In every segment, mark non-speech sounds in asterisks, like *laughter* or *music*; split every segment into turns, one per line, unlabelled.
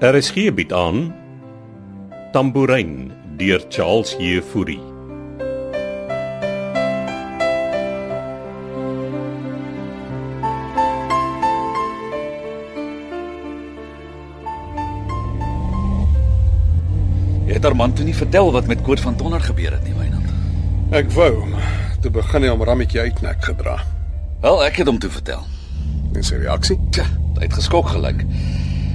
RSG bied Er aan Tambourin deur Charles Jefouri.
Jy het Armand toe nie vertel wat met Koord van Tonner gebeur het nie, Wynand.
Ek wou, maar toe begin hy om rammetjie uitnek gedra.
Wel, ek het hom toe vertel.
En sy reaksie?
Tja, hy het geskok gelyk.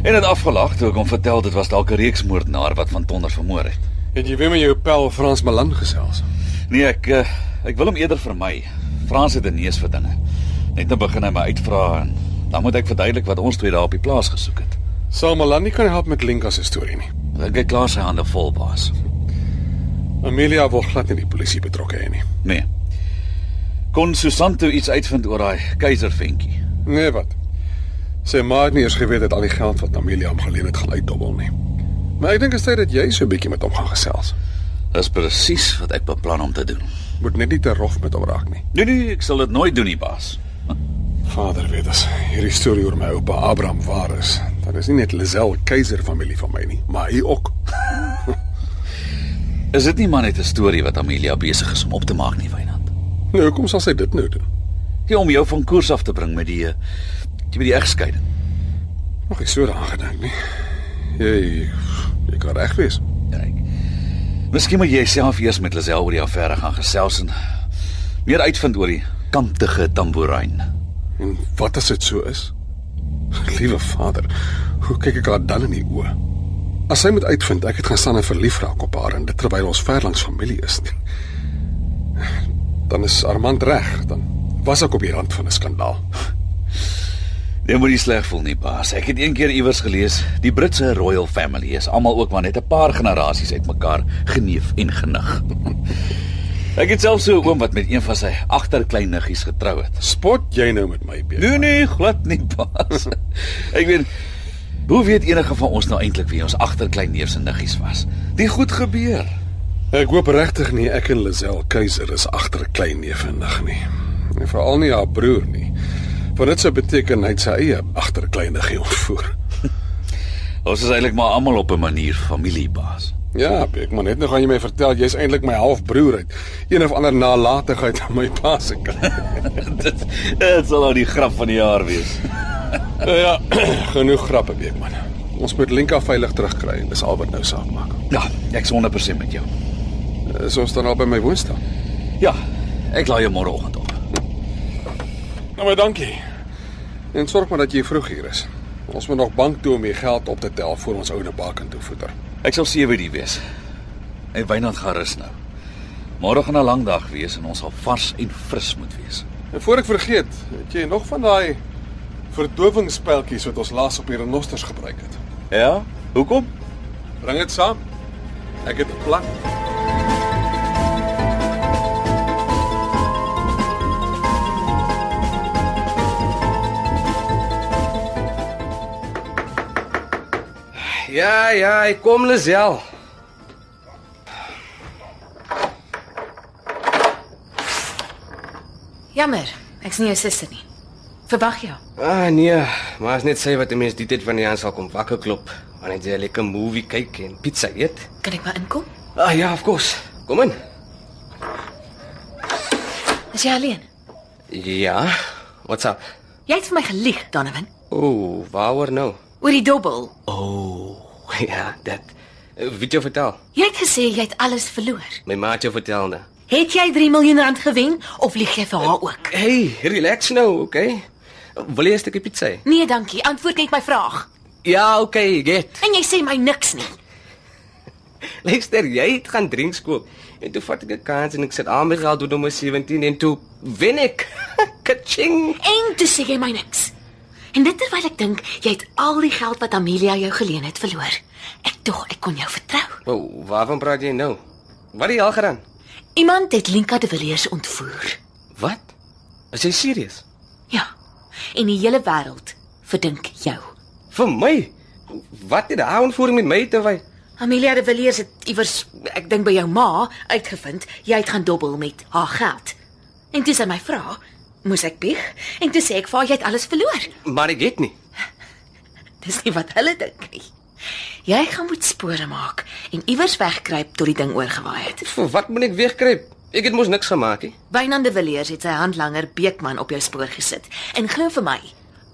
En het afgelag toe ek hom vertel dit was dalk 'n reeksmoordenaar wat van Tonner vermoor het.
Het jy weer met jou pel Frans Malan gesels?
Nee, ek eh, ek wil hom eerder vermy. Frans het 'n neus vir dinge. Net nou begin hy my uitvra en dan moet ek verduidelik wat ons twee daar op die plaas gesoek het.
Sal Malan nie kan help met Linka se storie nie.
Ek het klaar sy hande vol baas.
Amelia wil glad nie die polisie betrokke hê nie.
Nee. Kon Susanto iets uitvind oor daai keiserventjie?
Nee, wat? Sy ma het nie eers geweet dat al die geld wat Amelia hom geleen het gaan uitdobbel nie. Maar ek dink dit is tyd dat jy so 'n bietjie met hom gaan gesels.
Dis presies wat ek beplan om te doen.
Moet net nie te rof met hom raak nie.
Nee nee, ek sal dit nooit doen nie, baas.
Vader weet as hierdie storie oor my oupa Abraham waar is, dan is nie net Lisel keiser familie van my nie, maar hy ook.
Is dit nie maar net 'n storie wat Amelia besig is om op te maak nie, Wynand?
Nou hoekom sal sy dit nou doen?
Jy om jou van koers af te bring met die eh, die by die egskeiding.
Nog nie so daaraan gedink nie. Jy jy kan reg wees.
Ryk. Miskien moet jy self eers met Lisel oor die affære gaan gesels en meer uitvind oor die kamptige tamboerijn.
En wat as dit so is? Liewe Vader, hoe kyk ek haar dan in die oë? As sy moet uitvind ek het gaan staan en verlief raak op haar en dit terwyl ons ver langs familie is, dan is Armand reg, dan was ek op die rand van 'n skandaal.
Jy moenie sleg voel nie, baas. Ek het eendag iewers gelees, die Britse royal family is almal ook maar net 'n paar generasies uitmekaar geneef en genig. *laughs* Ek het self so 'n oom wat met een van sy agterkleinniggies getrou het.
Spot jy nou met my, Peter?
Nee nee, glad nie,
*laughs*
baas. Ek weet hoe weet enige van ons nou eintlik wie ons agterklein neefs en niggies was? Dit goed gebeur.
Ek hoop regtig nie ek en Lisel Keiser is agter 'n klein neef en nig nie. En veral nie haar broer nie. Want dit sou beteken hy het sy eie agter kleiniggie ontvoer.
Ons is eintlik maar almal op 'n manier familiebaas.
Ja, ek maar net nou gaan jy my vertel jy's eintlik my halfbroer uit een of ander nalatigheid aan my pa se *laughs* kant.
*laughs* dit dit sal nou die grap van die jaar wees.
Nou ja, *clears throat* genoeg grappe, Beekman. Ons moet Linka veilig terugkry. Dis al wat nou saak maak.
Ja, ek's 100% met jou.
Is ons dan al by my woonstel?
Ja, ek laai jou môreoggend op.
Nou maar dankie. En sorg maar dat jy vroeg hier is. Ons moet nog bank toe om die geld op te tel voor ons oude baken toe voeter.
Ek sal 7 die wees. En Wynand gaan rus nou. Môre gaan 'n lang dag wees en ons sal vars en fris moet wees.
En voor ek vergeet, het jy nog van daai verdowingspeltjies wat ons laas op die renosters gebruik het?
Ja? Hoekom?
Bring dit saam. Ek het 'n plan.
Ja, ja, ek kom Lisel.
Jammer, ek's nie jou suster nie. Verwag jou.
Ah nee, maar is net sy wat 'n mens die tyd van die aand sal kom wakker klop wanneer jy 'n lekker movie kyk en pizza eet.
Kan ek maar inkom?
Ah ja, of course. Kom in.
Is jy alleen?
Ja. What's up?
Jy het vir my gelieg, Donovan,
Ooh, waaroor nou?
oor die dobbel.
Ooh, *laughs* ja, dit. Wie jy vertel?
Jy het gesê jy het alles verloor.
My ma het jou vertel nou.
Het jy 3 miljoen rand gewen of lieg jy vir haar ook?
Hey, relax nou, okay? Wil jy 'n stukkie pizza? hê?
Nee, dankie. Antwoord net my vraag.
Ja, okay, get.
En jy sê my niks nie.
Luister, jy het gaan drinks koop. En toe vat ek 'n kans en ek sit aan my geld doen nommer 17 en toe wen ek. *laughs* Kaching.
En toe sê jy my niks. En dit terwyl ek dink jy het al die geld wat Amelia jou geleen het verloor. Ek tog ek kon jou vertrou.
Wow, waarvan praat jy nou? Wat het jy al gedaan?
Iemand het Linka de Villiers ontvoer.
Wat? Is jy serieus?
Ja. En die hele wêreld verdink jou.
Vir my? Wat het daai ontvoering met my te wy?
Amelia de Villiers het iewers, ek dink by jou ma, uitgevind jy het gaan dobbel met haar geld. En toe sy my vra, moes ek bieg en toe sê ek vir haar jy het alles verloor.
Maar ek weet nie.
Dis nie wat hulle dink nie. Jy gaan moet spore maak en iewers wegkruip tot die ding oorgewaai het.
Vir wat moet ek wegkruip? Ek het mos niks gemaak nie.
Wynand de Villiers het sy handlanger Beekman op jou spoor gesit. En glo vir my,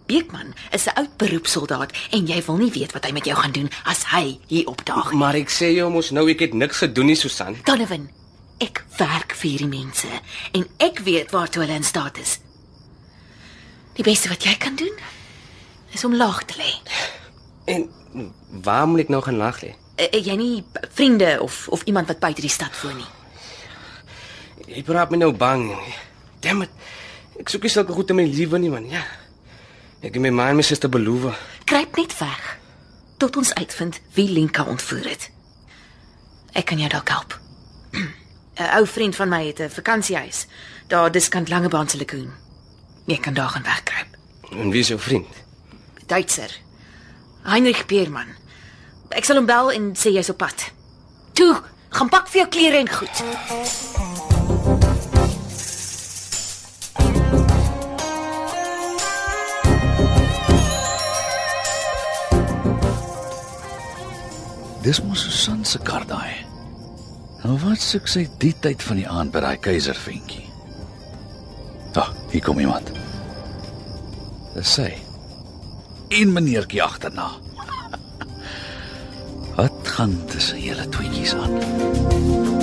Beekman is 'n oud beroepssoldaat en jy wil nie weet wat hy met jou gaan doen as hy hier opdaag nie.
Maar ek sê jou mos nou ek het niks gedoen nie, Susan.
Donovan, ek werk vir hierdie mense en ek weet waartoe hulle in staat is. Die beste wat jy kan doen is om laag te lê.
En waar moet ek nou gaan lag lê?
Eh, eh, Jy nie vriende of of iemand wat buite die stad woon nie.
Jy praat my nou bang. Damn it. Ek soek nie sulke goed in my lewe nie, man. Ja. Ek het my ma en my suster beloof.
Kruip net weg tot ons uitvind wie Lenka ontvoer het. Ek kan jou dalk help. *clears throat* 'n Ou vriend van my het 'n vakansiehuis daar diskant Langebaan se lagoon. Jy kan daar gaan wegkruip.
En wie is jou vriend?
Duitser. Heinrich Peerman. Ek sal hom bel en sê jy's op pad. Toe, gaan pak vir jou klere en goed.
Dis mos Susan se kar daai. Nou wat soek sy die tyd van die aand by daai keiserventjie? Ag, hier kom iemand. Dis sy. Een meneertjie agterna. *laughs* Wat gaan tussen julle tweetjies aan?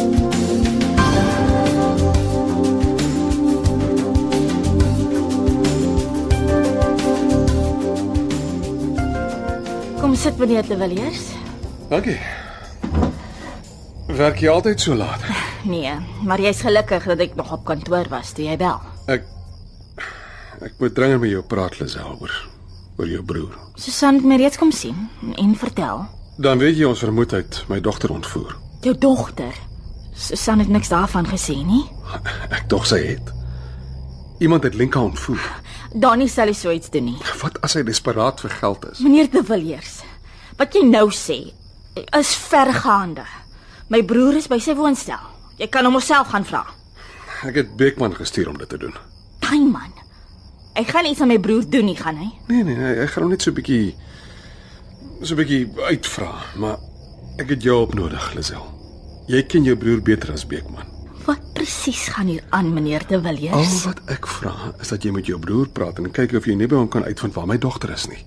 Kom sit meneer De Villiers.
Dankie. Werk jy altyd so laat?
Nee, maar jy's gelukkig dat ek nog op kantoor was toe jy bel.
Ek ek moet dringend met jou praat, Lisel, oor oor jou broer.
Susan het my reeds kom sien en vertel.
Dan weet jy ons vermoed hy het my dogter ontvoer. *laughs*
Jou dogter. Susan het niks daarvan gesê nie.
Ek dog sy het. Iemand het Lenka ontvoer.
Dani sal nie so iets doen nie.
Wat as hy desperaat vir geld is?
Meneer De Villiers, wat jy nou sê is vergaande. My broer is by sy woonstel. Jy kan hom homself gaan vra.
Ek het Beekman gestuur om dit te doen.
Daai man. Hy gaan nie iets aan my broer doen nie, gaan hy?
Nee nee, nee, ek gaan hom net so 'n bietjie so 'n bietjie uitvra, maar ek het jou op nodig, Lisel. Jy ken jou broer beter as Beekman.
Wat presies gaan hier aan, meneer De
Al
Villiers?
wat ek vra is dat jy met jou broer praat en kyk of jy nie by hom kan uitvind waar my dogter is nie.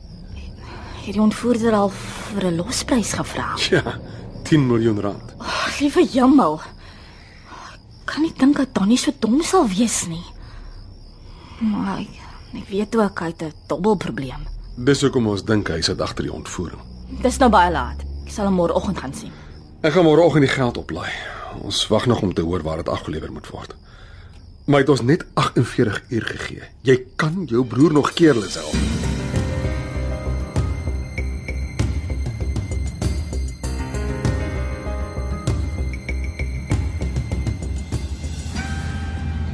*laughs*
Hierdie ontvoerder al vir 'n losprys gevra.
Ja, 10 miljoen rand.
Ag, liewe jemmel. Ek Kan nie dink dat Donnie so dom sal wees nie. Maar ek, ek weet ook hy het 'n dobbelprobleem.
Dis hoekom ons dink hy sit agter die ontvoering.
Dis nou baie laat. Ek sal hom môreoggend gaan sien.
Ek gaan môreoggend die geld oplaai. Ons wag nog om te hoor waar dit afgelewer moet word. Maar hy het ons net 48 uur gegee. Jy kan jou broer nog keer, Lisel.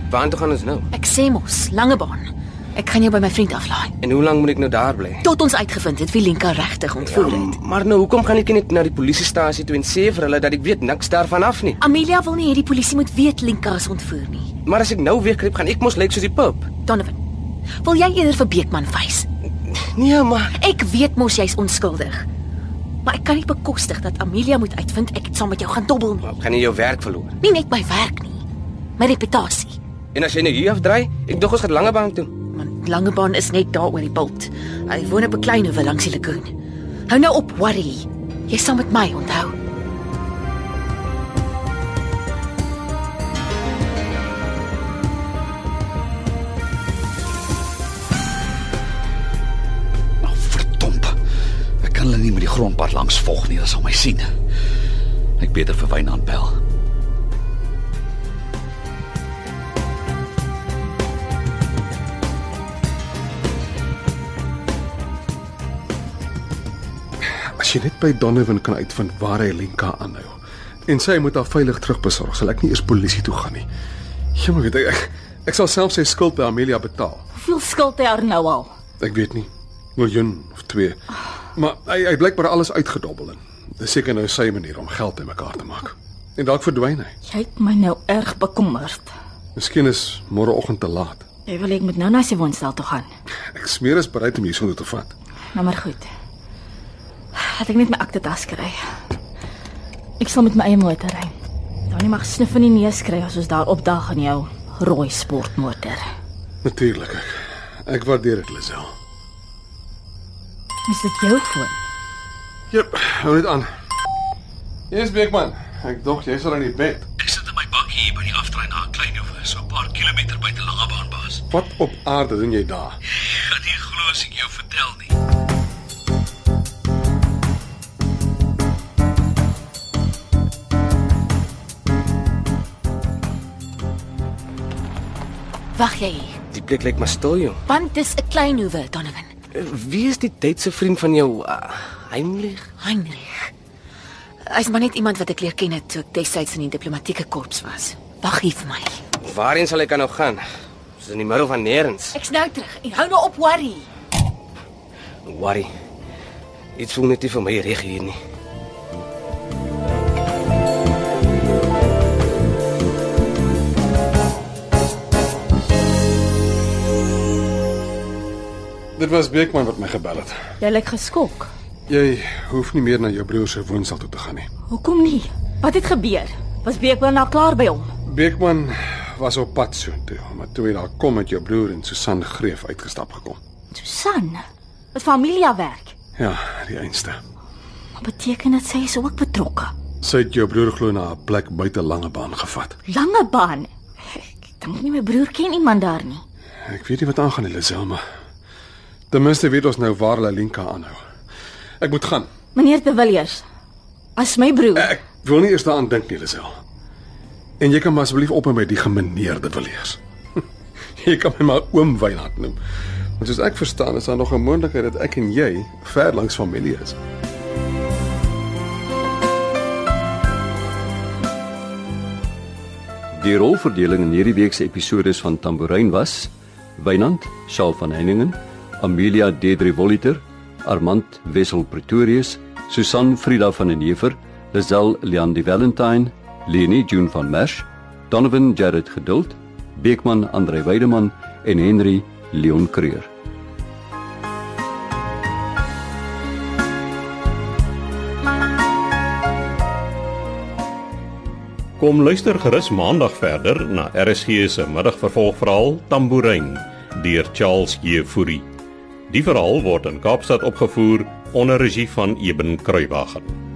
Waar toe gaan ons nou?
Ek sê mos, Langebaan. Ek gaan jou by my vriend aflaai
En hoe lank moet ek nou daar bly?
tot ons uitgevind het wie Lenka regtig ontvoer het.
maar nou hoekom gaan ek nie net na die polisiestasie toe en sê vir hulle dat ek weet niks daarvan af nie?
Amelia wil nie hê die polisie moet weet Lenka is ontvoer nie.
Maar as ek nou weer kruip gaan ek mos lyk soos die pup.
Donovan, wil jy eerder vir Beekman wys?
Nee, maar
Ek weet mos jy's onskuldig. Maar ek kan nie bekostig dat Amelia moet uitvind ek het saam met jou gaan dobbel nie.
Ek gaan nie jou werk verloor.
Nie net my werk nie, my reputasie.
En as jy nou hier afdraai, ek dog ons gaan Langebaan toe.
Want Langebaan is net daar oor die bult. Hy woon op 'n klein hoeve langs die lagoon. Hou nou op worry. Jy saam met my onthou.
Nou verdomp. Ek kan hulle nie met die grondpad langs volg nie, hulle sal my sien. Ek beter vir Wynand bel.
As jy net by Donovan kan uitvind waar hy Lenka aanhou en sê hy moet haar veilig terugbesorg, sal ek nie eers polisie toe gaan nie. Jemmig, ek, ek ek sal self sy skuld by Amelia betaal.
Hoeveel skuld hy haar nou al?
Ek weet nie, miljoen of 2. Maar hy hy blykbaar alles uitgedobbel en dis seker nou sy manier om geld bymekaar te maak. En dalk verdwyn hy.
Jy het my nou erg bekommerd.
Miskien is môreoggend te laat.
Jy wil ek moet nou na sy woonstel toe gaan.
Ek smeer is bereid om hierso toe te vat.
Nou maar goed. Ek dink net my akte tas kry. Ek sal met my eie motor ry. Donnie mag snif in die neus kry as ons daar opdaag in jou rooi sportmotor.
Natuurlik. Ek, ek waardeer dit, Lisel.
Is dit jou foon?
Jep, hou net aan. Jy's Beekman. Ek dog jy's al in die bed.
Ek sit in my bak hier by die aftrein na Kleinhoeve, so 'n paar kilometer buite Langebaan baas.
Wat op aarde doen jy daar?
Gaan jy glo as ek jou vertel nie?
Wag jy hier.
Die plek lyk maar stil jou.
Want dis 'n klein hoewe, Donovan.
Wie is die Duitse vriend van jou uh, Heimlich?
Heinrich. Hy's maar net iemand wat ek leer ken het toe ek destyds in die diplomatieke korps was. Wag hier vir my.
Waarheen sal ek nou gaan? Dis in die middel van nêrens.
Ek's nou terug. En hou nou op worry.
Worry. Dit voel net nie vir my reg hier nie.
Dit was Beekman wat my gebel het.
Jy lyk geskok.
Jy hoef nie meer na jou broer se woonstel toe te gaan nie.
Hoekom nie? Wat het gebeur? Was Beekman nou klaar by hom?
Beekman was op pad soontoe, maar toe hy daar kom met jou broer en Susan Greef uitgestap gekom.
Susan, wat familia werk.
Ja, die einste.
Wat beteken dit sy is ook betrokke?
Sy het jou broer glo na 'n plek buite Langebaan gevat.
Lange baan. Ek dink nie my broer ken iemand daar nie.
Ek weet nie wat aangaan hulle self maar. Ten minste weet ons nou waar Lalinka aanhou. Ek moet gaan.
Meneer De Villiers, as my broer.
Ek wil nie eers daaraan dink nie, Lisel. En jy kan maar asseblief op met die gemeeneerde willeers. *laughs* jy kan my maar oom Wynand noem. Want soos ek verstaan, is daar nog 'n moontlikheid dat ek en jy ver langs familie is.
Die rolverdeling in hierdie week se episode van Tambourin was: Wynand, Shaal van Heiningen, Amelia Deidre Voliter, Armand Wessel Pretorius, Susan Frida van den Heever, Lisel Leon die Valentine, Leni June van Merch, Donovan Jared Geduld, Beekman Andre Weideman en Henry Leon Creer.
Kom luister gerus maandag verder na RSG se middagvervolgverhaal Tambourine deur Charles Jefouri. Die verhaal word in Kaapstad opgevoer onder regie van Eben Kruiwagen.